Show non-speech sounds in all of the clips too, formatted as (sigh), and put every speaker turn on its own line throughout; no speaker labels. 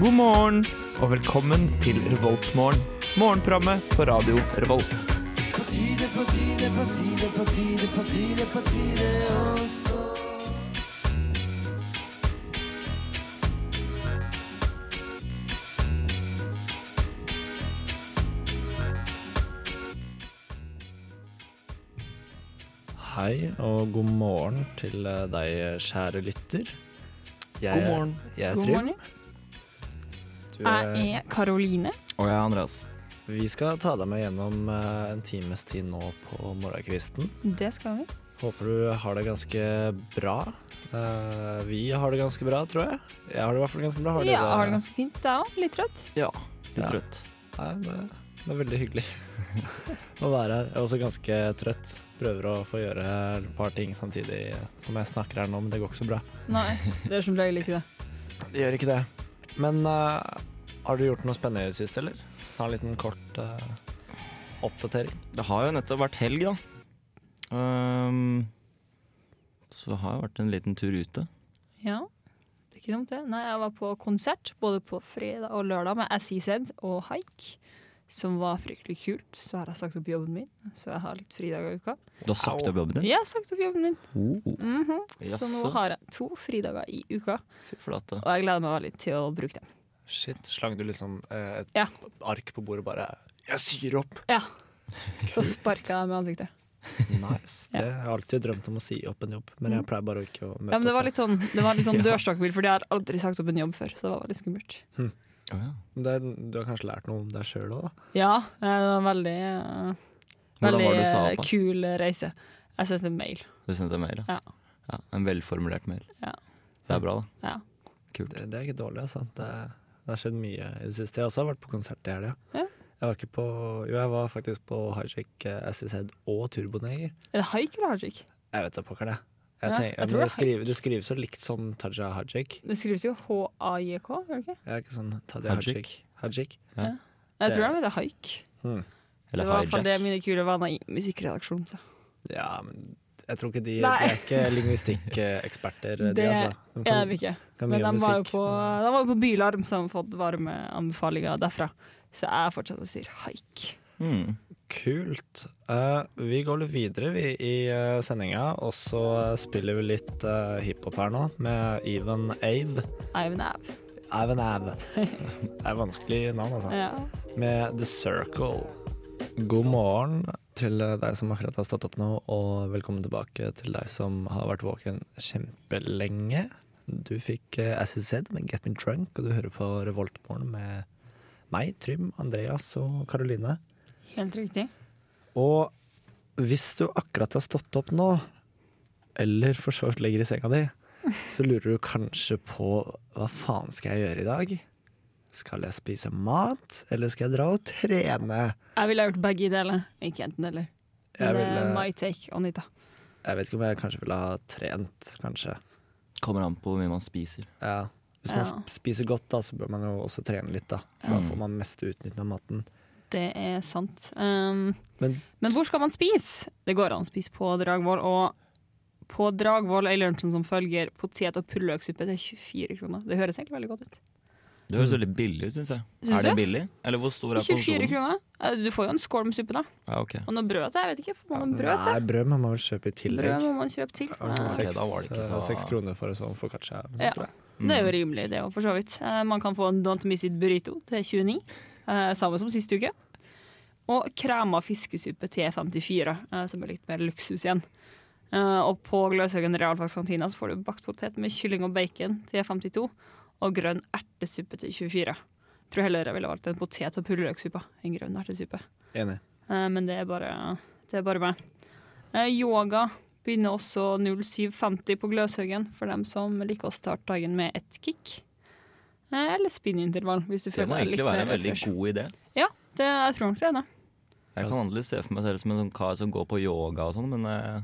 morgen, og velkommen til Revoltmorgen. Morgenprogrammet på radio Revolt.
Hei og god morgen til eh, deg, kjære lytter. Jeg,
God morgen.
Jeg er
God
Eh, Trym.
morgen.
Du,
Jeg
eh,
er Karoline.
Og jeg er Andreas.
vi skal ta deg med gjennom eh, en times tid nå på morgenkvisten.
Det skal vi.
Håper du har det ganske bra. Eh, vi har det ganske bra, tror jeg. Jeg har det i hvert fall ganske bra.
Ja, jeg har det ganske fint. Jeg òg. Litt trøtt.
Ja, litt
Ja.
trøtt.
Nei, det, det er veldig hyggelig (laughs) å være her. Jeg er også ganske trøtt. Prøver å få gjøre et par ting samtidig som jeg snakker her nå, men det går ikke så bra.
Nei, det er som regel ikke det.
Det gjør ikke det. Men eh, har du gjort noe spennende i det siste, eller? Ta en liten kort eh, oppdatering.
Det har jo nettopp vært helg, da. Ehm, så det har jo vært en liten tur ute.
Ja, det er ikke dumt, det. Nei, jeg var på konsert både på fredag og lørdag med As He Said og Haik, som var fryktelig kult. Så har jeg sagt opp jobben min, så jeg har litt fridager i uka.
Du har sagt
Au.
opp jobben din?
Jeg har sagt opp jobben min,
Oh,
Mhm. så nå
Jaså.
har jeg to fridager i uka.
Fy flate.
Og jeg gleder meg veldig til å bruke dem.
Shit, slang du liksom eh, et
Ja.
ark på bordet og bare Jeg syr opp!
Ja. Så sparka jeg med ansiktet.
(laughs) Nice.
Ja. Mm.
Det har jeg alltid drømt om å si opp en jobb, men jeg pleier bare ikke å møte
Ja, men det var
opp.
litt sånn, det var litt sånn
Ja.
dørstokkbil, fordi jeg har aldri sagt opp en jobb før, så det var veldig skummelt.
Å ja.
Men Det, du har kanskje lært noe om deg sjøl òg, da?
Ja, det var en veldig, eh,
Hvordan
veldig
var det du sa
eh,
opp, da?
kul reise. Jeg sendte en mail.
Du sendte en mail?
Ja.
ja. En velformulert mail.
Ja.
Det er bra, da.
Ja.
Kult.
Det, det er ikke dårlig, altså. Det, det har skjedd mye i det siste. Jeg har også vært på konsert i helga.
Ja.
Jeg var ikke på Jo, jeg var faktisk på Hijack eh, SSZ og Turboneger.
Er det haik eller hajik?
Jeg vet da pokker det. Jeg
Ja,
tenker,
jeg
men
tror det
det,
er
skriver, det skrives så likt som Taja Hajik.
Det skrives jo H-A-J-K, gjør det ikke?
Jeg er ikke sånn Taja
Hajik.
Hajik. Hajik.
Jeg
Det-
tror han heter haik.
Hmm.
Det
Eller
var i hvert fall det
hijack.
mine kule venner i musikkredaksjonen sa.
Ja, men jeg tror ikke de, de
Nei.
er ikke
(laughs)
lingvistikkeksperter, de
Det
altså. De
Er de ikke?
kan
Men
mye om
de var jo
musikk,
på,
men-
de var jo på Bylarm, som har fått varme anbefalinger derfra. Så jeg fortsatt og sier haik.
Mm.
Kult. Eh, vi går litt videre vi, i uh, sendinga, og så spiller vi litt eh, hiphop her nå, med Even Ave.
Ivan Av.
Even Ave.
(laughs)
Det er vanskelig navn, altså.
Ja.
med The Circle. God morgen til deg som akkurat har stått opp nå, og velkommen tilbake til deg som har vært våken kjempelenge. Du fikk eh, As You Said med Get Me Drunk, og du hører på Revoltmorgen med meg, Trym, Andreas og Karoline.
Helt riktig.
Og hvis du akkurat har stått opp nå, eller for så vidt ligger i senga di, så lurer du kanskje på hva faen skal jeg gjøre i dag? Skal jeg spise mat, eller skal jeg dra og trene?
Jeg ville ha gjort begge deler, ikke enten eller.
Jeg
Men det er
ville-
my take, Anita.
Jeg vet ikke om jeg kanskje ville ha trent, kanskje.
Kommer an på hvor mye man spiser.
Ja. Hvis man
Ja.
sp- spiser godt, da, så bør man jo også trene litt, da. For da
Mm.
får man mest utnytta maten.
Det er sant. Um,
Men-
men, hvor skal man spise? Det går an å spise på Dragvoll. Og på Dragvoll er lunsjen som følger potet- og purreløksuppe til 24 kroner. Det høres egentlig veldig godt ut.
Det høres veldig billig ut, syns jeg.
Synes
er det
du?
billig? Eller hvor stor er
24
porsjonen?
kroner? Eh, Du får jo en skål med suppe, da.
Ja, ok.
Og noe brød til. Jeg vet ikke, får man noe brød til?
Nei, brød må man jo kjøpe i tillegg.
Brød må man kjøpe til.
Det var sånn
Eh,
Ok,
Seks
da var det ikke
eh,
så-
seks kroner for en sånn foccaccia.
Ja.
tror jeg.
Det er jo rimelig, det òg, for så vidt. Eh, Man kan få en Don't Miss It burrito til 29, eh, samme som sist uke. Og krema fiskesuppe til 54, eh, som er litt mer luksus igjen. Eh, Og på Gløshaugen realfagskantina så får du bakt potet med kylling og bacon til 52, og grønn ertesuppe til 24. Jeg tror heller jeg ville valgt en potet- og purreløksuppe enn grønn ertesuppe.
Enig.
Eh, Men det er bare, det er bare meg. Eh, Yoga begynner også 07.50 på Gløshaugen, for dem som liker å starte dagen med et kick. Eh, Eller spinnintervall, hvis du
Det må
føler deg litt
egentlig være
mer
en veldig
refresh.
god idé.
Ja, det, jeg tror nok det er det.
Jeg kan aldri se for meg selv som en sånn kar som går på yoga og sånn, men eh,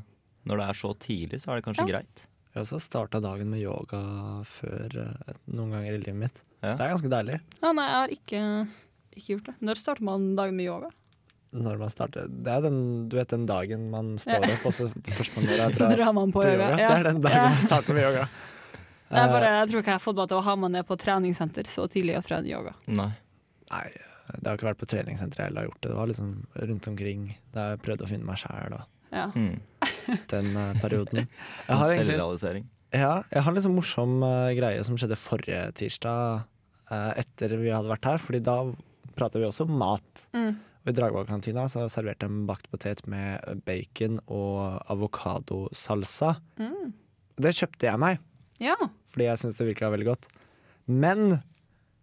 når det er så tidlig, så er det kanskje greit.
Jeg har også starta dagen med yoga før eh, noen ganger i livet mitt.
Ja.
Det er ganske deilig
Ja, nei, jeg har ikke, ikke gjort det. Når starter man dagen med yoga?
når man starter. Det er den, du vet, den dagen
(laughs)
man står opp, og så det første man gjør, er å
Så
dra
drar man
på
på yoga.
yoga. Det
Ja.
er den dagen man starter med yoga.
Jeg, bare, jeg tror ikke jeg har fått meg til å ha meg ned på treningssenter så tidlig og trene yoga.
Nei.
Nei, det har ikke vært på treningssenteret jeg heller har gjort det. Det var liksom rundt omkring der jeg prøvde å finne meg sjæl og
Ja.
Mm.
den eh, perioden. Jeg har egentlig
Selvrealisering.
ja, jeg har en liksom morsom eh, greie som skjedde forrige tirsdag eh, etter vi hadde vært her, fordi da pratet vi også om mat.
Mm.
Og I Dragvoll-kantina så serverte de bakt potet med bacon og avokadosalsa.
Mm.
Det kjøpte jeg meg,
ja.
fordi jeg syntes det virka veldig godt. Men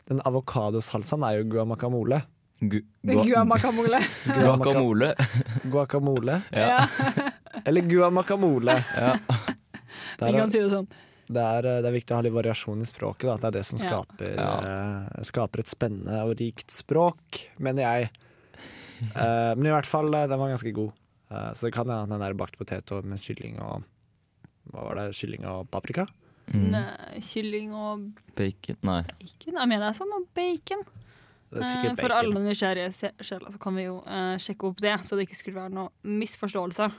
den avokadosalsaen er jo guacamole.
Gu gua
Guacamole.
(laughs) guacamole.
Guacamole.
Ja.
Eller
(laughs)
guacamole. Det,
Vi
er,
kan si det sånn.
det, er, eh, det er viktig å ha litt variasjon i språket. Da. at Det er det som
Ja.
skaper,
Ja.
eh, skaper et spennende og rikt språk, mener jeg. Eh, men i hvert fall, eh, den var ganske god. Eh, så det kan hende at den der bakt potet og med kylling og Hva var det? Kylling og paprika?
Mm.
Ne- Kylling og
Bacon Nei.
bacon. Jeg mener det er sånn og bacon.
Det er sikkert
Eh, For
bacon.
alle nysgjerrige se- sjeler så kan vi jo eh, sjekke opp det, så det ikke skulle være noen misforståelser.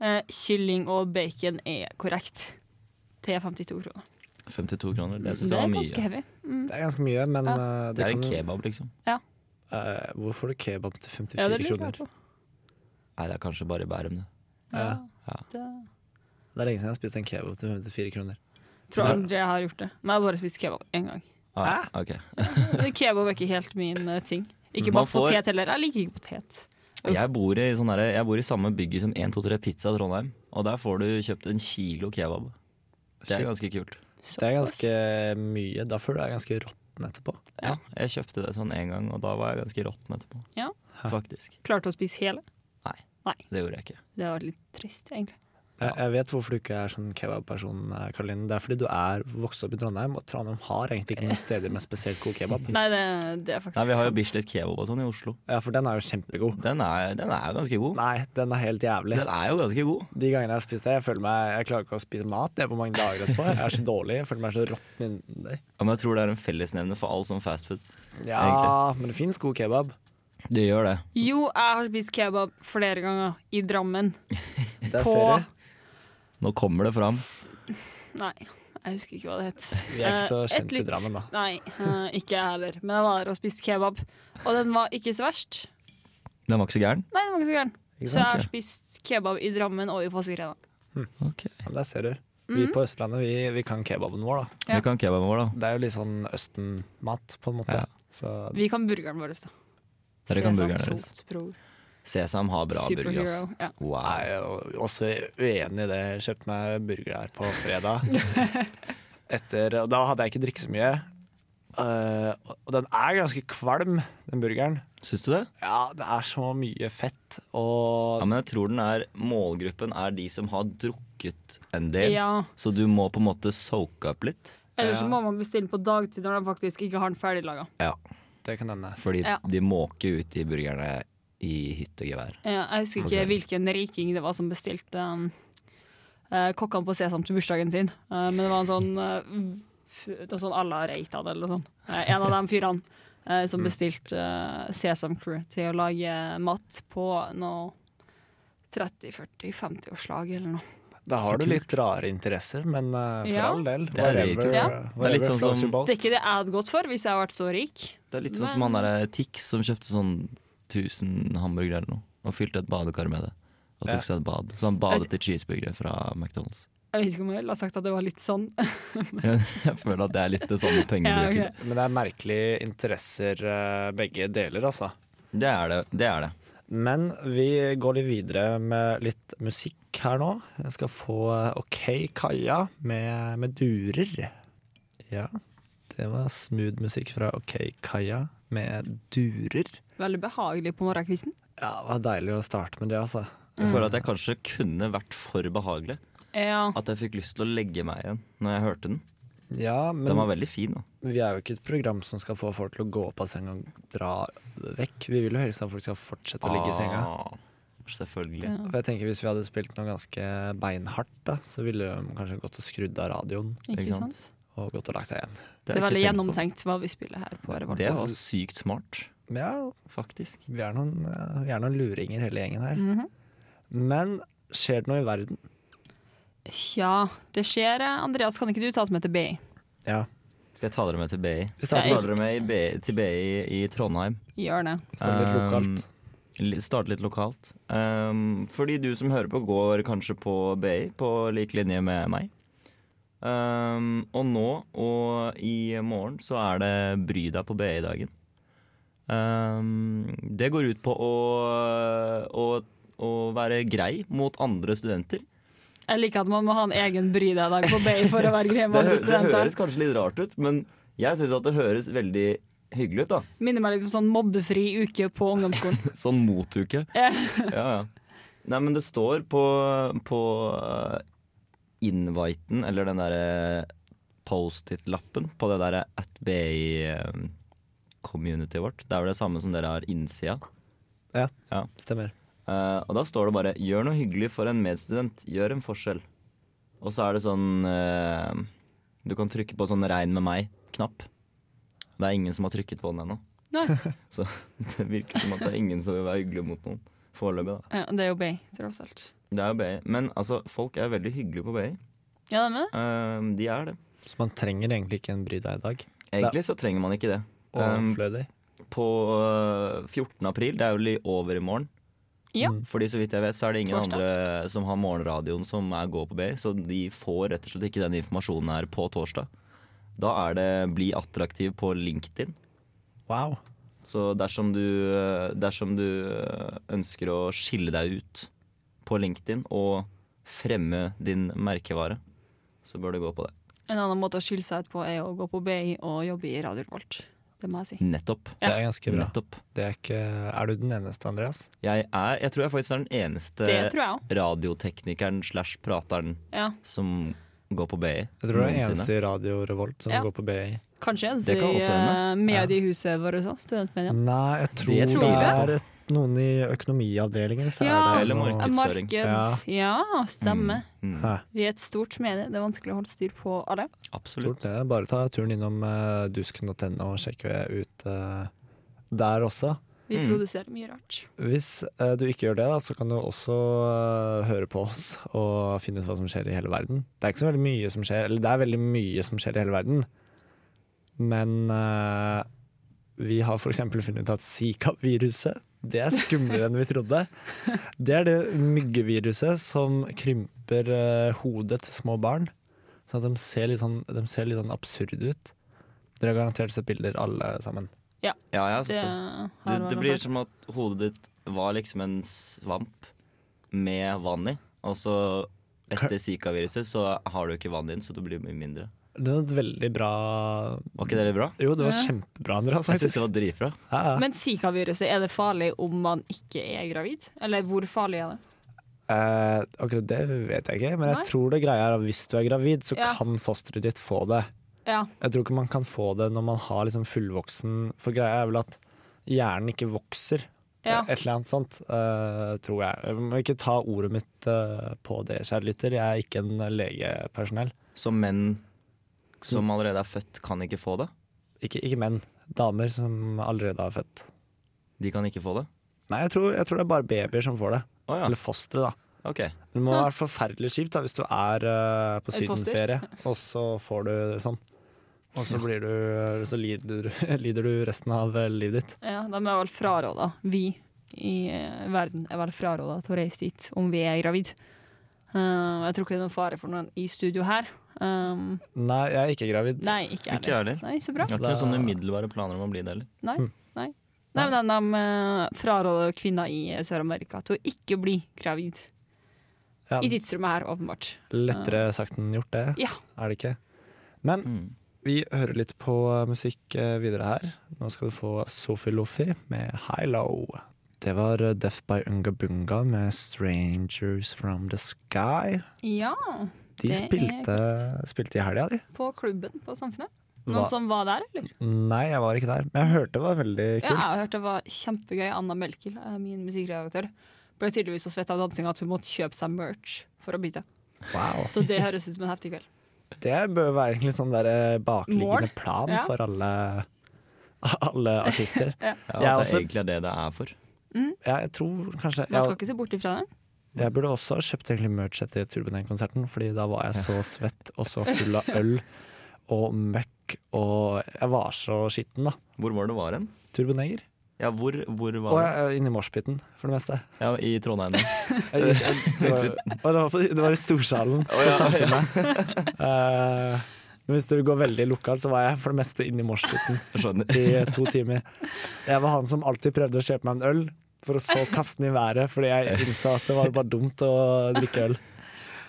Eh, kylling og bacon er korrekt. Til 52 kroner.
52 kroner. Det syns
det
jeg var
er ganske
mye.
heavy. Mm.
Det er ganske mye, men eh,
Det
det
er en
kan jo
kebab, liksom.
Eh, Hvor får du kebab til 54
Ja, det lurer jeg
kroner?
på.
Nei, det er kanskje bare i Bærum, det.
Ja.
Ja.
Det
Det er lenge siden jeg har spist en kebab til 54 kroner.
tror jeg aldri jeg har gjort det. Men jeg har bare spist kebab én
(laughs)
gang.
Ah, ok.
Men Kebab er ikke helt min eh, ting. Ikke
Man
bare
får-
potet heller. Jeg liker ikke potet.
Jeg bor, i sånn derre- jeg bor i samme bygget som 123 Pizza Trondheim, og der får du kjøpt en kilo kebab. Det er
Shit.
ganske kult.
Det er ganske mye. Da føler jeg ganske råtten etterpå.
Ja, jeg kjøpte det sånn en gang, og da var jeg ganske råtten etterpå.
Ja.
Faktisk.
Klarte å spise hele.
Det gjorde jeg ikke.
Det var litt trist, egentlig.
Jeg, jeg vet hvorfor du ikke er sånn kebabperson, eh, Karoline. Det er fordi du er vokst opp i Trondheim, og Trondheim har egentlig ikke noen steder med spesielt god
(laughs)
kebab.
Nei, det, det er faktisk
Mm. Nei, Vi har jo
sant.
Bislett kebab og sånn i Oslo.
Ja, for den er jo kjempegod.
Den er, den er jo ganske god.
Nei, den er helt jævlig.
Den er jo ganske god.
De gangene jeg har spist det, jeg føler meg Jeg klarer ikke å spise mat jeg på mange dager etterpå. Jeg er så dårlig. Jeg føler meg så råtten inni
Ja, Men jeg tror det er en fellesnevner for all sånn fastfood.
Ja, men det fins god kebab.
Det gjør det.
Jo, jeg har spist kebab flere ganger i Drammen.
Der
På
ser du.
Nå kommer det fram.
Nei, jeg husker ikke hva det het.
Vi er ikke så
Eh, et
kjent i
litt-
Drammen, da.
Nei, eh, ikke jeg heller. Men jeg var der og spiste kebab. Og den var ikke så verst.
Den var ikke så gæren.
Nei, den var ikke så gæren.
Ikke
Så jeg har
sant?
spist kebab i Drammen og i Fossegrena.
Ok.
Ja, men der ser du. Vi på Østlandet, vi, vi kan kebaben vår, da.
Ja.
Vi kan kebaben vår, da.
Det er jo litt sånn Østen-mat, på en måte.
Ja.
Så
Vi kan burgeren vår, da.
Dere kan
Sesam,
burgeren deres.
salt, bror.
Sesam har bra burger, ass.
Superhero. Ja.
Wow.
jeg er jo også uenig i det. Jeg kjøpte meg burger her på fredag.
(laughs)
Etter, og da hadde jeg ikke drikket så mye. Eh, og den er ganske kvalm, den burgeren.
Syns du det?
Ja, det er så mye fett og
Ja, men jeg tror den er, målgruppen er de som har drukket en del.
ja.
Så du må på en måte soake opp litt.
Eller så
Ja.
må man bestille på dagtid når de faktisk ikke har den ferdiglaga.
Det kan hende.
Fordi
Ja.
de måker ut de burgerne i hytt og gevær.
Ja, Jeg husker ikke
Ok.
hvilken riking det var som bestilte um, eh, kokkene på Sesam til bursdagen sin, Eh, men det var en sånn eh, f- det var sånn à la Reitan eller noe sånt. Eh, en av de fyrene eh,
Mm.
som bestilte eh, Sesam Crew til å lage mat på noe 30-40-50-årslag eller noe.
Da har
Så
du
kult.
litt rare interesser, men eh, for
Ja.
all del.
Det er
whatever-
dritkult.
Ja.
whatever
Det er litt sånn
floats
som-
your boat.
Det er ikke det jeg hadde gått for hvis jeg hadde vært så rik.
Det er litt sånn som han der Tix som kjøpte sånn 1000 hamburgere eller noe, og fylte et badekar med det. Og
Ja.
tok seg et bad. Så han badet i cheeseburgere fra McDonald's. (laughs)
Jeg vet ikke om jeg ville ha sagt at det var litt sånn.
Jeg føler at det er litt det samme
Ja,
pengebruken.
ok.
Men det er merkelige interesser eh, begge deler, altså.
Det er det. det er det.
Men vi går litt videre med litt musikk her nå. Jeg skal få eh, OK Kaja med, med durer. Ja, det var smooth musikk fra OK Kaja med durer.
(laughs) Veldig behagelig på morgenkvisten.
Ja, det var deilig å starte med det, altså.
Mm.
Jeg føler at jeg kanskje kunne vært for behagelig.
Ja.
At jeg fikk lyst til å legge meg igjen når jeg hørte den.
Ja, men
Den var veldig fin, da.
vi er jo ikke et program som skal få folk til å gå opp av senga og dra vekk. Vi vil jo helst at folk skal fortsette å ligge i senga.
Ah, Selvfølgelig.
Og jeg tenker Hvis vi hadde spilt noe ganske beinhardt, da, så ville de kanskje gått og skrudd av radioen
Ikke
Ikke sant?
sant?
og gått og lagt seg igjen.
Det,
har jeg
er veldig
ikke tenkt på.
gjennomtenkt hva vi spiller her på Revolt.
Det var sykt smart,
Men ja,
faktisk.
Vi er noen,
Mhm.
eh, vi er noen luringer hele gjengen her. Men skjer det noe i verden?
Tja, det skjer. eh, Andreas, kan ikke du ta oss med til BI?
Ja.
Skal jeg ta dere med til BI?
Vi
Jeg
starter
tar dere med i BI, til BI i Trondheim.
Gjør det.
starter litt lokalt.
Li- Starte litt lokalt. Um, fordi du som hører på, går kanskje på BI på lik linje med meg. Um, og nå og i morgen så er det Bry deg på BI-dagen. Um, det går ut på å, å, å være grei mot andre studenter.
Jeg liker at man må ha en egen bry deg dag på BI for å være grei med
hø-
andre
det
studenter.
høres kanskje litt rart ut, men jeg syns at det høres veldig hyggelig ut. da
Minner meg litt om sånn mobbefri uke på ungdomsskolen.
Sånn motuke.
Eh,
ja, ja. Nei, men det står på, på eh, inviten, eller den derre Post-it-lappen på det derre at BI-communityet vårt. Det er vel det samme som dere har innsida.
Ja.
Ja.
Stemmer.
Eh, og da står det bare 'gjør noe hyggelig for en medstudent', gjør en forskjell. Og så er det sånn eh, Du kan trykke på sånn 'regn med meg'-knapp. Det er ingen som har trykket på den ennå.
Nei,
Så (laughs) det virker som at det er ingen som vil være hyggelig mot noen foreløpig, da.
eh, det er jo BI, tross alt.
Det er jo BI. Men altså, folk er veldig hyggelige på BI.
Ja, det er med det.
Ehm, de er det.
Så man trenger egentlig ikke en bry deg i dag.
Egentlig så trenger man ikke det. Ehm,
Overflødig.
på øh, 14. april, det er vel i over i morgen.
Ja.
Fordi så vidt jeg vet, så er det ingen
Torsdag.
andre som har morgenradioen som er går på BI, så de får rett og slett ikke den informasjonen her på torsdag. Da er det bli attraktiv på LinkedIn.
Wow.
Så dersom du, øh, dersom du øh, ønsker å skille deg ut på LinkedIn og fremme din merkevare, så bør du gå på det.
En annen måte å skille seg ut på er å gå på BI og jobbe i Radio Revolt. Det må jeg si.
Nettopp.
Ja.
Det er ganske bra.
Nettopp.
Det er, ikke, er du den eneste, Andreas?
Jeg, er, jeg tror jeg faktisk er den eneste
Det tror jeg òg.
radioteknikeren slash prateren
Ja.
som går på BI.
Jeg tror du er den
noensinne.
eneste i Radio Revolt som
Ja.
går på BI.
Kanskje eneste
Det kan
i
også hende. Mm.
eh, mediehuset vårt også. Studentmedia.
Nei, jeg tror
Det
det,
tror jeg
er et, noen i økonomiavdelingen. Så
Ja.
er det
Eller
noe-
marked. Markedsføring.
Marked. Ja, stemmer.
Mm,
Hæ,
Vi er et stort medie. Det er vanskelig å holde styr på alle.
absolutt.
stort det. Bare ta turen innom eh, dusken.no og sjekke ut eh, der også.
Vi
Mm.
produserer mye rart.
Hvis eh, du ikke gjør det, da, så kan du også eh, høre på oss og finne ut hva som skjer i hele verden. Det er ikke så veldig mye som skjer, eller det er veldig mye som skjer i hele verden. Men eh, vi har f.eks. funnet ut at Zika-viruset det er skumlere enn vi trodde. Det er det myggeviruset som krymper eh, hodet til små barn. Sånn at de ser litt sånn, de ser litt sånn absurde ut. Dere har garantert sett bilder, alle sammen.
Ja, jeg har sett det.
Det, har
Det,
vært
det blir
rart.
som at hodet ditt var liksom en svamp med vann i, og så etter Zika-viruset så har du ikke vann inn, så du blir mye mindre.
Det var et veldig bra
Var ikke det litt bra?
Jo, det var
Ja.
kjempebra, Andreas.
Jeg
faktisk.
syns det var dritbra.
Ja, ja.
Men Zika-viruset, er det farlig om man ikke er gravid? Eller hvor farlig er det?
Eh, akkurat det vet jeg ikke, men jeg
Nei.
tror det greia er at hvis du er gravid, så
Ja.
kan fosteret ditt få det.
Ja,
Jeg tror ikke man kan få det når man har liksom fullvoksen For greia er vel at hjernen ikke vokser.
ja.
Et eller annet sånt, eh, tror jeg. Jeg må ikke ta ordet mitt eh, på det, kjære lytter. Jeg er ikke en legepersonell.
Så menn som allerede er født, kan ikke få det?
Ikke, ikke menn. Damer som allerede har født.
De kan ikke få det?
Nei, jeg tror, jeg tror det er bare babyer som får det.
Å ja,
Eller fostre, da.
ok.
Det må være forferdelig kjipt da, hvis du er eh, på
Et Hm. foster.
sydenferie, og så får du sånn. Og så, blir du, eh, så lider, du- (laughs) lider du resten av eh, livet ditt.
ja de er vel fraråda. Vi i eh, verden er vel fraråda til å reise dit om vi er gravid. Eh, jeg tror ikke det er noen fare for noen i studio her. Um,
Nei, jeg er ikke gravid.
nei,
Ikke
ikke
jeg Mm.
jeg
heller.
Nei, så bra.
Jeg har ikke noen sånne umiddelbare planer om å bli det heller.
Nei. nei. Nei, men de, de eh, fraråder kvinner i eh, Sør-Amerika til å ikke bli gravid.
Ja,
I tidsrommet her, åpenbart.
lettere sagt enn gjort, det.
Ja.
Er det ikke? Men
Mm.
vi hører litt på musikk eh, videre her. Nå skal du få Sophie Lofi med High Low. Det var eh, Death by Ungabunga med Strangers From The Sky.
Ja,
De
Det er
spilte, spilte i helga, de.
på klubben på Samfunnet.
Hva-
Noen som var der, eller?
Nei, jeg var ikke der, men jeg hørte det var veldig
Ja, jeg har
kult.
hørt det var kjempegøy. Anna Melkild, eh, min musikkredaktør, ble tydeligvis så svett av dansinga at hun måtte kjøpe seg merch for å bytte.
Wow. altså. (laughs)
Så det høres ut som en heftig kveld.
Det bør være egentlig sånn der eh, bakliggende
Mål?
plan
Ja.
for alle, (laughs) alle artister.
Ja, at
Jeg
det
også-
er egentlig er det det er for.
Ja, jeg tror kanskje
Man skal
jeg,
ikke se bort ifra det.
Jeg burde også ha kjøpt egentlig merch etter Turbinen-konserten, fordi da var jeg så svett og
(laughs)
så full av øl og møkk, og jeg var så skitten, da.
Hvor var det var hen?
Turboneger.
Ja, hvor, hvor
Og
var det?
jeg er inne i moshpiten, for det meste.
Ja, I Trondheim. ja.
Jeg gikk, det, var, og det, var på, det var i Storsalen på Samfunnet. Eh, hvis du går veldig lokalt, så var jeg for det meste inne i moshpiten
(laughs) Skjønner.
i to timer. Jeg var han som alltid prøvde å kjøpe meg en øl, for å så kaste den i været, fordi jeg innså at det var bare dumt å drikke øl.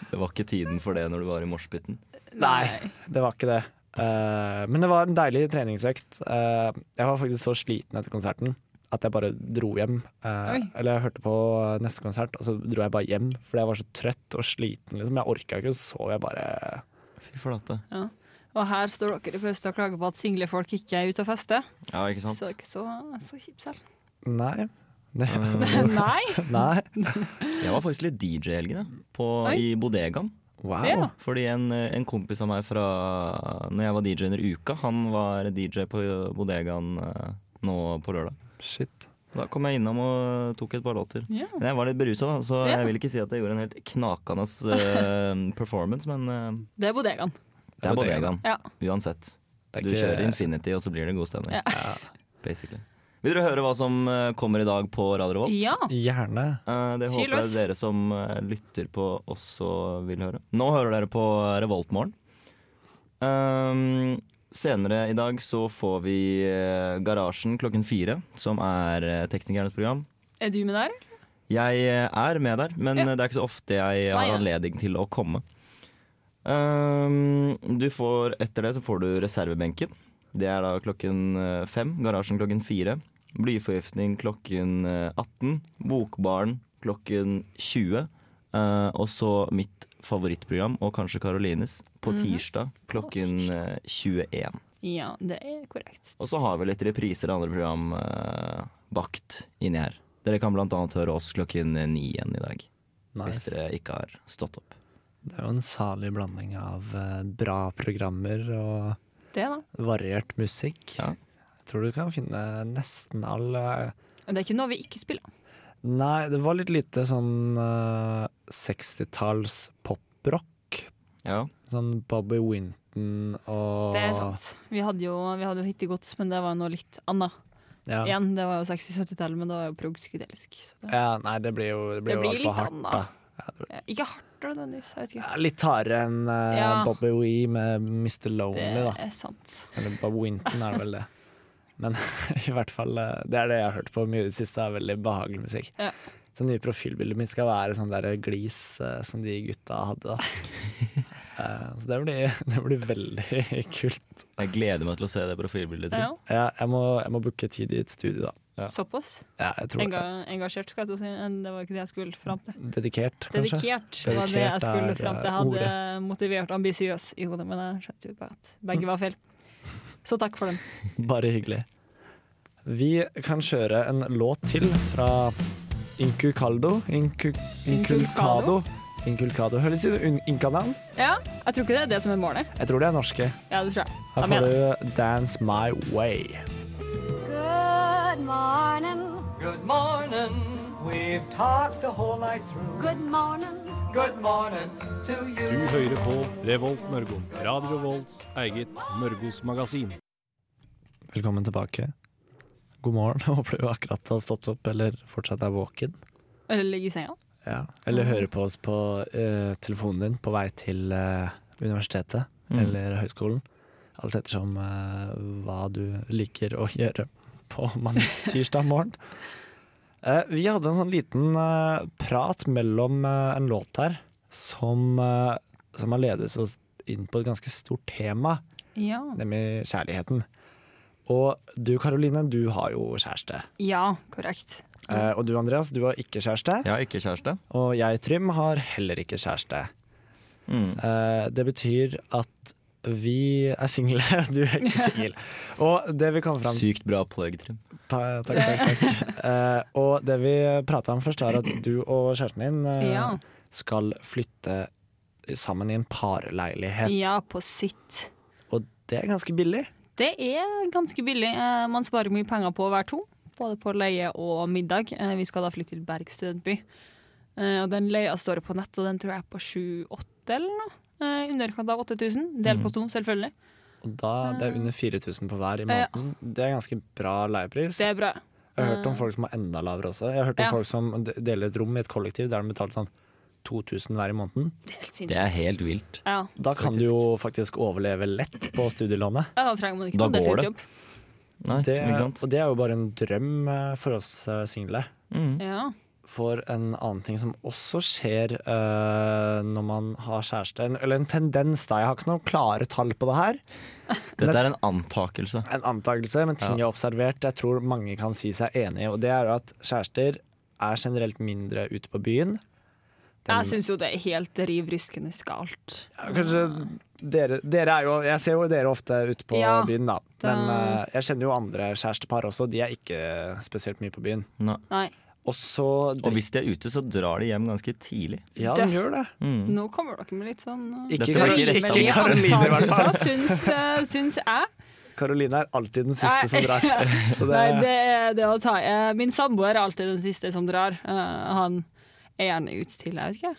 Det var ikke tiden for det når du var i moshpiten.
Nei, det var ikke det. Eh, men det var en deilig treningsøkt. Eh, jeg var faktisk så sliten etter konserten at jeg bare dro hjem. Eh,
Oi.
eller jeg hørte på neste konsert, og så dro jeg bare hjem fordi jeg var så trøtt og sliten. Liksom. Jeg orka ikke, og så sov jeg bare.
Fy flate.
Ja. Og her står dere i pausen og klager på at single folk ikke er ute og fester.
Ja, ikke sant?
Så det er ikke så, så kjipt
(laughs)
selv.
Nei. Det,
Mm.
Nei!
(laughs) nei.
Jeg var faktisk litt DJ i helgen, jeg, på-
Oi.
i bodegaen.
Wow.
Ja.
Fordi en, en kompis av meg fra når jeg var DJ under uka, han var DJ på bodegaen eh, nå på lørdag.
Shit.
Da kom jeg innom og tok et par låter.
Ja.
Men jeg var litt berusa, da, så
Ja.
jeg vil ikke si at jeg gjorde en helt knakende
(laughs)
eh, performance, men eh,
Det er bodegaen.
det er bodegaen.
Ja.
Uansett.
Det
Du
er ikke-
kjører Infinity, og så blir det god stemning. Basically. Vil dere høre hva som eh, kommer i dag på Radio Revolt?
ja.
Gjerne.
Eh, det
Fyr
håper jeg
løs.
dere som eh, lytter på også vil høre. Nå hører dere på Revoltmorgen. Um, senere i dag så får vi eh, Garasjen klokken fire, som er eh, teknikernes program.
Er du med der?
Jeg eh, er med der, men
Ja.
eh, det er ikke så ofte jeg
Nei,
har
ja.
anledning til å komme. Um, du får, etter det så får du reservebenken. Det er da klokken eh, fem. Garasjen klokken fire. Blyforgiftning klokken eh, 18. Bokbaren klokken 20. eh, og så mitt favorittprogram, og kanskje Karolines, på
Mhm.
tirsdag klokken eh, 21.
Ja, det er korrekt.
Og så har vi litt repriser av andre program eh, bakt inni her. Dere kan blant annet høre oss klokken ni igjen i dag. Hvis
Nice.
dere ikke har stått opp.
Det er jo en salig blanding av eh, bra programmer og
Det, da.
variert musikk.
Ja.
Jeg tror du kan finne nesten all eh,
Og Det er ikke noe vi ikke spiller.
Nei, det var litt lite sånn eh, 60-talls poprock.
Ja.
Sånn Bobby Winton og
Det er sant. Vi hadde jo, vi hadde jo hittegods, men det var noe litt annet.
Ja. Ja.
Igjen, det var jo 60-70-tallet, men det var jo prog-psykedelisk. så det-
nei, det blir jo det
Det
blir, jo i
blir
hvert fall
litt
hardt,
annet.
da.
Ja, Eh, Ikke hardt nødvendigvis, jeg vet ikke.
Ja, litt hardere enn eh,
Ja.
Bobby Wee med Mr. Lonely,
Det
da.
er sant.
Eller Bobby Winton er det vel det. Men (laughs) i hvert fall, eh, det er det jeg har hørt på mye i det siste, er veldig behagelig musikk.
Ja.
Så nye profilbildet mitt skal være sånn der glis eh, som de gutta
(laughs)
hadde, da. Eh, så det blir, (laughs) det blir veldig (laughs) kult.
Jeg gleder meg til å se det profilbildet.
Ja,
Tror.
ja.
Ja, jeg må, jeg må booke tid i et studio, da.
Såpass.
Ja, jeg tror det.
Enga, engasjert, skal jeg til å si. men Det var ikke det jeg skulle fram til.
Dedikert, kanskje?
Dedikert var det jeg
Dedikert
skulle
er,
fram til. Jeg
eh,
hadde motivert ambisiøs i hodet, men jeg skjønte jo bare at
Mm.
begge var feil. Så takk for den.
(laughs) Bare hyggelig. Vi kan kjøre en låt til fra Inculcado. Incu- Inculcado. Inculcado. Høres ut som inkanavn.
Ja, jeg tror ikke det er det som er målet.
Jeg tror det er norske.
Ja, det tror jeg.
Her
Da mener
får du 'Dance My Way'.
Good morning.
Good morning. We've talked the whole night through.
Good morning.
Good morning to you.
Du hører på Revolt Mørgo. Radio Volts eget Mørgos magasin.
Velkommen tilbake. God morgen. (laughs) Jeg Håper du akkurat har stått opp eller fortsatt er våken.
Eller ligge i senga.
Ja. Eller hører på oss på eh, telefonen din på vei til eh, universitetet eller høyskolen. Alt ettersom eh, hva du liker å gjøre på mandag, tirsdag morgen. Eh, vi hadde en sånn liten eh, prat mellom eh, en låt her som, eh, som har ledet oss inn på et ganske stort tema,
Ja.
nemlig kjærligheten. Og du Karoline, du har jo kjæreste.
ja, korrekt.
Eh, og du Andreas, du har ikke kjæreste.
Jeg har ikke kjæreste.
Og jeg, Trym, har heller ikke kjæreste.
Mm.
Eh, det betyr at vi er single, (laughs) du er ikke singel. Og det vi kom fram til
Sykt bra plug, Trym.
ta, Takk, takk, takk. Eh, og det vi prata om først, er at du og kjæresten din eh,
Ja.
skal flytte sammen i en parleilighet.
Ja, på sitt.
Og det er ganske billig.
Det er ganske billig. Eh, Man sparer mye penger på hver to, både på leie og middag. Eh, Vi skal da flytte til Berg studentby. Eh, Eh, og den leia står på nett, og den tror jeg er på 7-8 eller noe. Eh, I underkant av 8000. Del
Mhm.
på to, selvfølgelig.
Og da, det er under
Ah.
4000 på hver i måneden. Det er ganske bra leiepris.
Det er bra.
Jeg har hørt om folk som har enda lavere også. Jeg har hørt om
Ja.
folk som de- deler et rom i et kollektiv der de betaler sånn 2000 hver i måneden.
Det er helt
Det
sinnssykt.
er helt vilt.
Ja.
Da kan du jo faktisk overleve lett på studielånet.
ja, da trenger man ikke
Da
noen
går det.
deltidsjobb.
Nei,
(laughs) Det,
ikke sant?
og det er jo bare en drøm eh, for oss eh, single.
Mm.
Ja.
For en annen ting som også skjer eh, når man har kjæreste, en- eller en tendens da, jeg har ikke noen klare tall på det her,
Dette er en antakelse.
en antakelse, men ting jeg har observert jeg tror mange kan si seg enig i, og det er jo at kjærester er generelt mindre ute på byen. Den-
Jeg syns jo det er helt riv ruskende skalt.
Ja, Kanskje dere, dere er jo Jeg ser jo dere ofte ute på
Ja,
byen, da.
da-
Men eh, jeg kjenner jo andre kjærestepar også, de er ikke spesielt mye på byen.
Nei.
Nei,
Og så
Og hvis de er ute, så drar de hjem ganske tidlig.
Ja, de gjør det.
Mm.
nå kommer dere med litt sånn uh,
Mhm. Ikke
Dette var ikke
Karoline,
rett
ikke
av meg.
Karoline, i hvert fall.
antakelser, syns, eh, syns jeg.
Karoline er alltid den siste som drar. (laughs) Så det,
Nei, det er det å ta eh, Min samboer er alltid den siste som drar. Eh, han er gjerne ute til jeg vet ikke,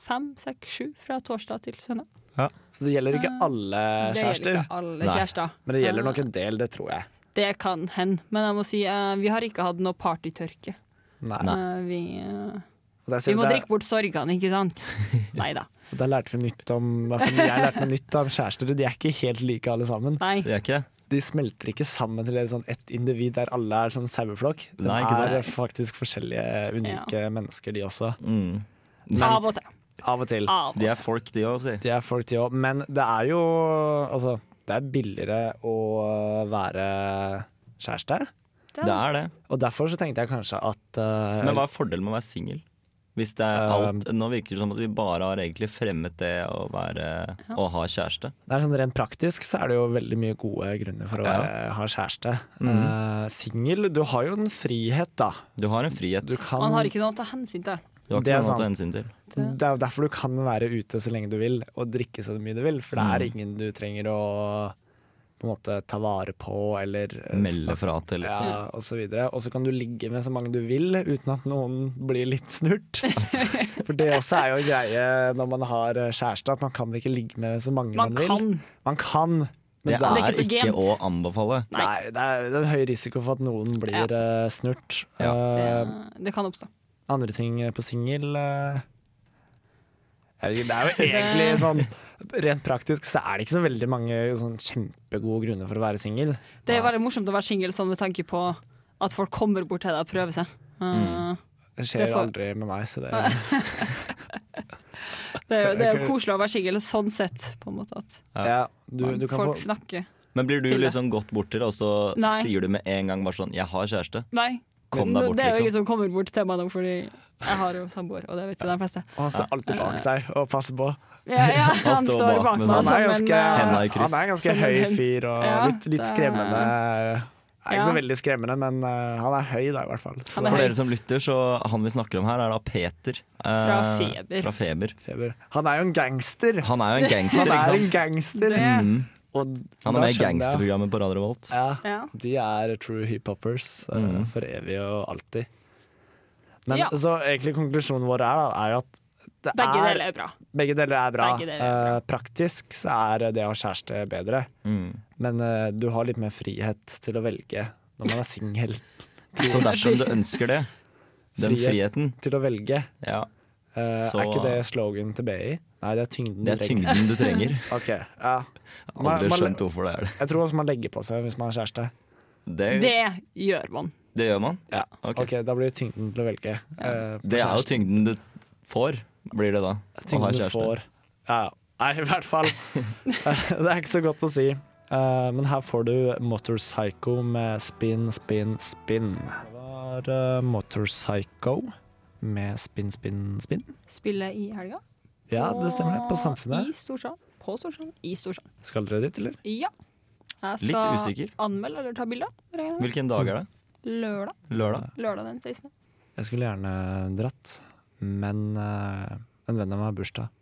fem, seks, sju fra torsdag til søndag.
så det gjelder ikke alle
Mm. Det gjelder
kjærester,
ikke alle
Nei.
kjærester.
men det gjelder
Eh,
nok en del, det tror jeg.
Det kan hende. Men jeg må si eh, vi har ikke hatt noe partytørke.
Nei.
Eh, vi, eh,
Og der, ser
vi må
vi-
drikke bort sorgene,
(laughs)
ikke sant? Nei da.
der, der lærte vi nytt om i hvert fall Jeg lærte meg nytt om kjærester. De er ikke helt like alle sammen.
Nei.
Det er ikke det.
De smelter ikke sammen til et sånn ett individ der alle er sånn saueflokk. De
Nei, ikke
er faktisk forskjellige, unike mennesker, de også.
Mm.
Av og til.
Av og til.
Av og
De er folk, de òg, si.
De er folk, de òg. Men det er jo Altså, det er billigere å være kjæreste.
Det er det.
Og derfor så tenkte jeg kanskje at eh,
Men hva er fordelen med å være singel? Hvis det er
Um.
alt Nå virker det som at vi bare har egentlig fremmet det å være Å ha kjæreste.
det er sånn Rent praktisk så er det jo veldig mye gode grunner for å
Ja. Mm.
være, ha kjæreste. Eh, Singel, du har jo en frihet, da.
Du har en frihet.
Du
Du
kan
Man har ikke noe å ta hensyn til.
har
det
ikke
er
noe å
sant.
ta hensyn til.
Det er jo derfor du kan være ute så lenge du vil, og drikke så mye du vil. For det er ingen du trenger å på en måte ta vare på eller eh,
Melde fra til. liksom.
ja, og så videre. Og så kan du ligge med så mange du vil uten at noen blir litt snurt. For det også er jo en greie når man har eh, kjæreste, at man kan ikke ligge med så mange man,
Man
vil.
kan.
Man kan, men
Det
det er,
ikke
er
så
ikke
gent.
å anbefale.
Nei.
nei, det er, det er en høy risiko for at noen blir eh, snurt.
Det,
Eh,
det kan oppstå.
andre ting på singel eh, jeg vet ikke, (laughs) Det er jo egentlig sånn Rent praktisk så er det ikke så veldig mange sånn kjempegode grunner for å være singel.
Det er veldig morsomt å være singel sånn med tanke på at folk kommer bort til deg og prøver seg. Uh,
Det skjer
Det får-
aldri med meg,
(laughs)
så det
Det er, jo, det er jo
Ok.
koselig å være singel sånn sett, på en måte. At
ja, du, du kan
folk
få
snakker.
Men blir du
Til det.
liksom gått bort til det, og så
Nei.
sier du med en gang bare sånn 'Jeg har kjæreste'.
Nei.
Kom deg bort,
det er jo
liksom.
ingen som kommer bort til meg nå, fordi jeg har jo samboer, og det vet jo de fleste.
Og Han står alltid bak deg og passer på.
Ja, ja, han
står
står
bak
bak
med
meg
sånn.
Han
som
er
en
ganske,
eh,
Henda i kryss.
han er ganske
Som en
høy
hund.
fyr og
Ja,
litt, litt
det er-
skremmende. Er ikke
Ja.
så veldig skremmende, men eh, han er høy da, i hvert fall.
Han
For
er
dere
høy.
som lytter, så han vi snakker om her, er da Peter. eh,
Fra Feber.
fra Feber.
Feber. Han er jo en gangster.
Han er jo en
Han
gangster, ikke
er en
sant?
gangster.
eh, Det-
Mm.
Og
Han
da
er med i
skjønner jeg-
gangsterprogrammet på Radio Revolt.
Ja.
Ja.
De er true hiphopers eh,
Mm.
for evig og alltid. Men
Ja.
så egentlig konklusjonen vår er, da, er jo at det
Begge
er,
deler er bra.
begge deler er bra.
Begge deler er
Eh, praktisk så er det å ha kjæreste bedre,
Mm.
men eh, du har litt mer frihet til å velge
(laughs)
når man er singel.
Så dersom du ønsker det, den
Frihet.
friheten
til å velge.
ja,
Eh,
Så-
Er ikke det slogan til BI? Nei, det er tyngden
Det er
du trenger.
tyngden du trenger.
(laughs) Ok, ja.
(laughs)
Man,
Aldri
man,
skjønt hvorfor det er det.
jeg tror også man legger på seg hvis man har kjæreste.
Det, det.
Det gjør man.
gjør man.
Ja.
Ok.
Ok, Da blir det tyngden til å velge. eh, på
Det er jo
kjæreste.
tyngden du får, blir det da. Å ha
Tyngden du
kjæreste.
får. Ja, ja. nei, i hvert fall. (laughs) det er ikke så godt å si. Eh, men her får du Motorpsycho med Spin, Spin, Spin. Det var eh, Motorpsycho med Spin, Spin, Spin.
Spille i helga.
Ja, det stemmer det. På
Og
Samfunnet.
I Storsand. På Storsand. I Storsand.
Skal dere dit, eller?
Ja. Jeg skal
Litt usikker.
anmelde eller ta bilder. regner jeg med.
Hvilken dag er det?
Lørdag.
Lørdag?
Lørdag den 16.
Jeg skulle gjerne dratt, men eh, en venn av meg har bursdag,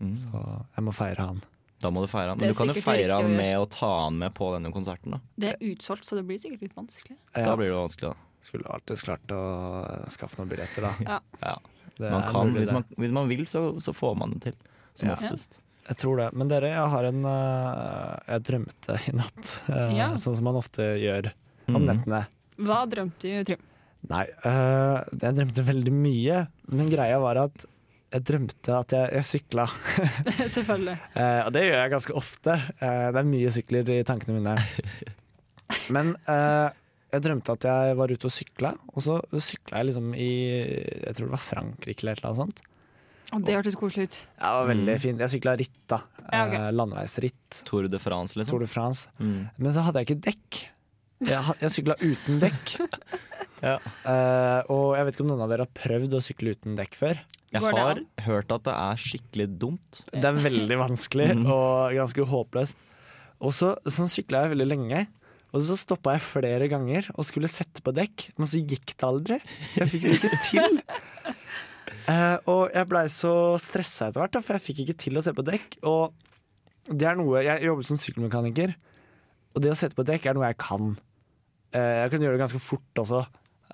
Mm.
så jeg må feire han.
Da må du feire han.
Det
Men
er
du kan jo
sikkert
feire
riktig å
han
gjøre.
med å ta han med på denne konserten. Da,
Det er utsolgt, så det blir sikkert litt vanskelig.
Ja,
da blir det vanskelig, da. (laughs)
skulle alltids klart å skaffe noen billetter, da.
Ja.
Det
Man
er
kan,
mulig,
hvis
det.
man, hvis man vil, så, så får man det til. Som
Ja.
oftest.
Jeg tror det. Men dere, jeg har en eh, Jeg drømte i natt, eh,
Ja.
sånn som man ofte gjør om
Mhm.
nettene.
Hva drømte du, Trym? (laughs)
Nei, eh, jeg drømte veldig mye, men greia var at jeg drømte at jeg, jeg sykla.
Selvfølgelig.
Eh, og det gjør jeg ganske ofte. Eh, det er mye sykler i tankene mine. Men eh, jeg drømte at jeg var ute og sykla, og så sykla jeg liksom i Jeg tror det var Frankrike eller et eller annet sånt.
Og det hørtes koselig ut.
Ja, det var veldig fint. Jeg sykla ritt, da.
Ja, ok.
Eh, landeveisritt.
Tour de France, liksom.
Tour de France.
Mm.
Men så hadde jeg ikke dekk. Jeg, ha- jeg sykla uten dekk.
Ja.
Eh, og jeg vet ikke om noen av dere har prøvd å sykle uten dekk før.
Jeg
Går det
har
an?
hørt at det er skikkelig dumt.
Det er veldig vanskelig og ganske håpløst. Og så sånn sykla jeg veldig lenge. Og så stoppa jeg flere ganger og skulle sette på dekk, men så gikk det aldri. Jeg fikk det ikke til. Eh, og jeg blei så stressa etter hvert, da, for jeg fikk ikke til å sette på dekk. Og det er noe Jeg jobber som sykkelmekaniker, og det å sette på dekk er noe jeg kan. Eh, jeg kan gjøre det ganske fort også.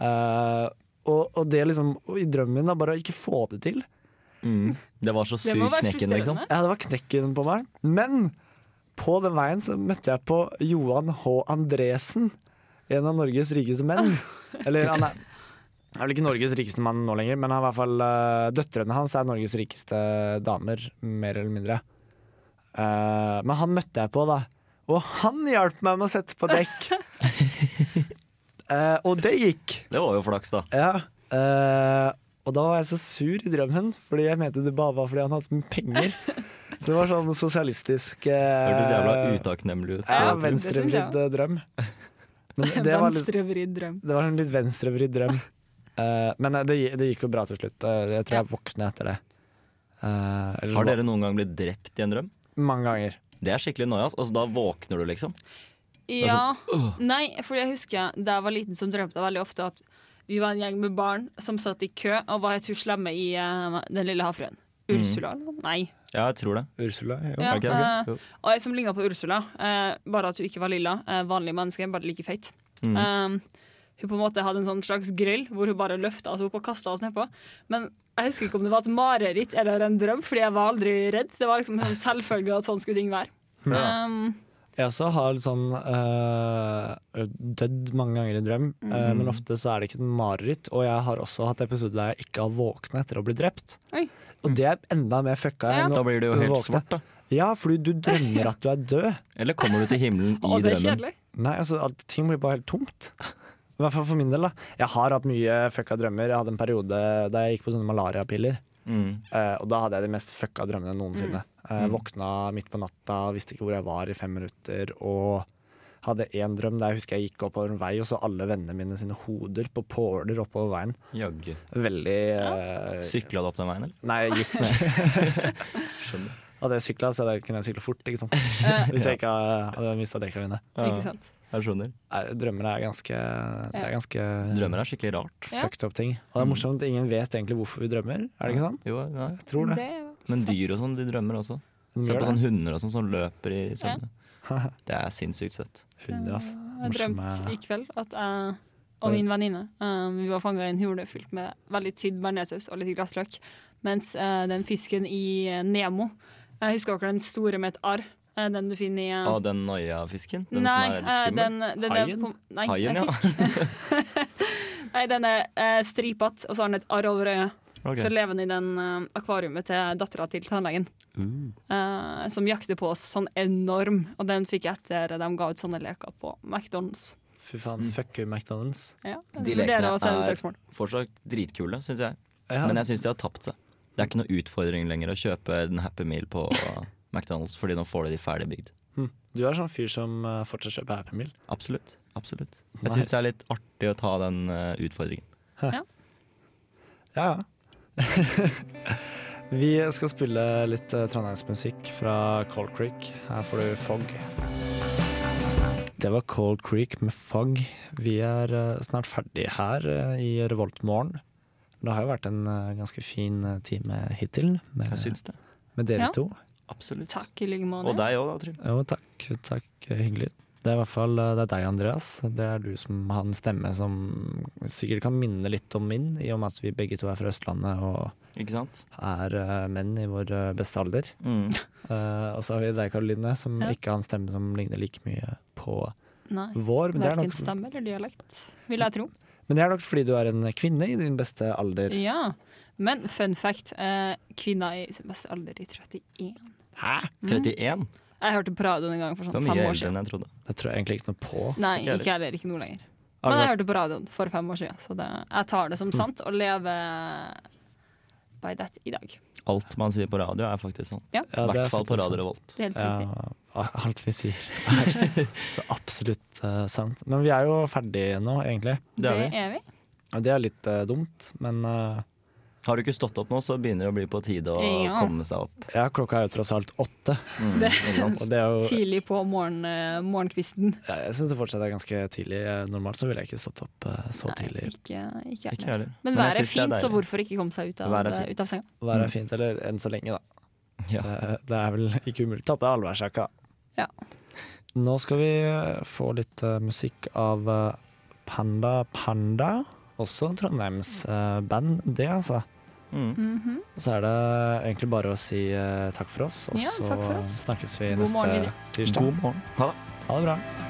Eh, og, og det liksom og I drømmen min, da, bare å ikke få det til.
Mm. Det var så
Det må
sykt
være
knekken, liksom.
frustrerende.
Ja, det var knekken på meg. Men på den veien så møtte jeg på Johan H. Andresen. En av Norges rikeste menn. Eller han er, han er vel ikke Norges rikeste mann nå lenger, men han er i hvert fall eh, døtrene hans er Norges rikeste damer, mer eller mindre. Eh, men han møtte jeg på, da. Og han hjalp meg med å sette på dekk. Eh, og det gikk.
Det var jo flaks, da.
Ja. eh, og da var jeg så sur i drømmen, fordi jeg mente det bare var fordi han hadde så mye penger. Så det var sånn sosialistisk eh,
Hørtes jævla utakknemlig ut.
Ja,
ut. Det synes
venstrevridd
jeg.
eh, drøm. Men det var, litt,
Venstrevridd drøm.
det var en litt venstrevridd drøm. Eh, men eh, det, gi- det gikk jo bra til slutt. Eh, jeg tror jeg våkna etter det. Eh, eller så-
Har dere noen gang blitt drept i en drøm?
Mange ganger.
Det er skikkelig noia. Altså, da våkner du, liksom.
Ja.
sånn,
sånn, Nei, for jeg husker da jeg var liten, som drømte jeg veldig ofte at vi var en gjeng med barn som satt i kø, og var helt hun slemme i eh, Den lille havfruen. Ursula? eller? Nei.
Ja, jeg tror det.
Ursula? Jo.
Ja,
Er det ikke
eh,
det? Mhm. Jo.
Og jeg som ligna på Ursula, eh, bare at hun ikke var lilla. Eh, vanlig menneske, bare like feit.
Mhm.
Eh, hun på en måte hadde en sånn slags grill hvor hun bare løfta oss opp og kasta oss nedpå. Men jeg husker ikke om det var et mareritt eller en drøm, fordi jeg var aldri redd. Det var liksom en sånn selvfølge at sånn skulle ting være. Eh,
Jeg også har litt sånn øh, dødd mange ganger i drøm, øh, men ofte så er det ikke en mareritt. Og jeg har også hatt episoder der jeg ikke har våkna etter å bli drept.
Oi.
Og det er enda mer fucka
Ja.
enn
Da
å
blir det jo helt
våkne.
svart, da.
Ja, fordi du drømmer at du er død.
Eller kommer du til himmelen i
og det er
drømmen?
kjedelig.
Nei, altså alt, ting blir bare helt tomt. I hvert fall for min del. da Jeg har hatt mye fucka drømmer. Jeg hadde en periode da jeg gikk på sånne malariapiller.
Mm.
Eh, og da hadde jeg de mest fucka drømmene noensinne.
Mm.
Eh, våkna midt på natta, visste ikke hvor jeg var i fem minutter. Og hadde én drøm der jeg husker jeg gikk oppover en vei og så alle vennene mine sine hoder på påler oppover veien.
Jaggu.
Veldig eh,
Sykla du opp den veien, eller?
Nei, jeg gikk ned.
Skjønner.
Hadde jeg sykla, så hadde jeg- kunne jeg sykle fort, ikke sant.
Eh.
Hvis jeg ikke hadde mista dekka mine.
Ikke sant?
Jeg skjønner.
Nei, Drømmer er ganske, det er ganske
Drømmer er skikkelig rart.
Ja.
fucked up ting.
Mm.
Og det er morsomt, ingen vet egentlig hvorfor vi drømmer, er det ikke sant?
Jo, ja.
Jeg tror det.
Mm, Det-
Men dyr og sånn, de drømmer også. Se på
Gjør det.
sånne hunder og sånn som løper i søvne. Det er sinnssykt søtt.
Hunder, ass.
Jeg
eh,
drømte i kveld at jeg og min venninne eh, Vi var fanga i en hule fylt med veldig tydd bearnéssaus og litt glassløk. Mens eh, den fisken i eh, Nemo Jeg husker dere den store med et arr? eh, den du finner i eh,
Av den noia-fisken? Ah, Den
nei,
som
eh,
er skummel?
den, den er
Haien?
på- Nei,
Haien,
det er
ja.
fisk. (laughs) nei, den er eh, stripete, og så har den et arr over øyet.
Ok.
Så lever den i den eh, akvariet til dattera til tannlegen.
Mm.
Eh, som jakter på oss sånn enorm, og den fikk jeg etter de ga ut sånne leker på McDonald's.
Fy faen,
Mm.
fuck you, McDonald's.
Ja,
De
jeg vurderer
lekene
å sende
er
søksmål.
fortsatt dritkule, syns jeg.
Ja.
Men jeg syns de har tapt seg. Det er ikke noe utfordring lenger å kjøpe en Happy Meal
(laughs)
på McDonald's, fordi nå får du de ferdigbygd.
Du er sånn fyr som eh, fortsatt kjøper Happy Meal.
Absolutt. Absolutt. Jeg
Nice.
syns det er litt artig å ta den eh, utfordringen.
Ja, ja. (laughs) vi skal spille litt eh, trondheimsmusikk fra Cold Creek. Her får du Fog. Det var Cold Creek med Fog. Vi er eh, snart ferdig her eh, i Revoltmorgen. Det har jo vært en eh, ganske fin eh, time hittil med,
Jeg syns det.
med dere
Ja.
to.
Absolutt.
Takk i like
Og
måte.
deg òg da, Trym.
Jo, takk. Takk, hyggelig. Det er i hvert fall eh, det er deg, Andreas. Det er du som har en stemme som sikkert kan minne litt om min, i og med at vi begge to er fra Østlandet og
Ikke sant?
er eh, menn i vår eh, beste alder.
(laughs)
Mm.
Eh, og så har vi deg, Karoline, som
Ja.
ikke har en stemme som ligner like mye på
Nei.
vår. Men det, er
Verken
nok,
stemme eller dialekt, vil jeg tro.
men det er nok fordi du er en kvinne i din beste alder.
Ja. Men fun fact, eh, kvinna i sin beste alder i 31.
Hæ? 31?
Jeg hørte på radioen en gang for
Det var
sånn
mye
Mm. fem år
eldre
siden.
enn jeg trodde.
Det tror jeg egentlig ikke noe på.
Nei,
Ikke heller.
ikke heller. Ikke nå lenger.
Har du
Men jeg
vært- Mm.
hørte på radioen for fem år siden, så det, jeg tar det som sant og lever by that i dag.
Alt man sier på radio, er faktisk sant. I
Ja, det er
hvert fall på
faktisk sant.
Radio Revolt.
Det er helt riktig.
Ja, alt vi sier
(laughs)
(laughs) er så absolutt eh, sant. Men vi er jo ferdige nå, egentlig.
Det er vi.
Det er vi.
Og det er litt eh, dumt, men eh,
Har du ikke stått opp nå, så begynner det å bli på tide å
Ja.
komme seg opp.
ja, klokka er jo tross alt åtte.
Mm, ikke sant?
Og det er jo,
Tidlig på morgen, eh, morgenkvisten.
Ja, jeg syns det fortsatt er ganske tidlig. Eh, Normalt så ville jeg ikke stått opp eh, så
Nei,
tidlig.
ikke, ikke
Ikke
heller.
heller.
Men været er
jeg synes det
fint, så
deilig.
hvorfor ikke komme seg ut av,
Været er fint.
ut av senga?
Været er fint, eller enn så lenge, da. Eh,
Ja.
Det, det er vel ikke umulig. Tatt av allværsjakka.
Ja.
Nå skal vi eh, få litt eh, musikk av eh, Panda Panda. Også Trondheims eh, band, det, altså.
Mm.
Mhm.
Og så er det egentlig bare å si eh, takk for oss, og
Ja,
så
takk for oss.
snakkes vi
God
neste
morgen, videre.
tirsdag.
God morgen. Ha det.
Ha det bra.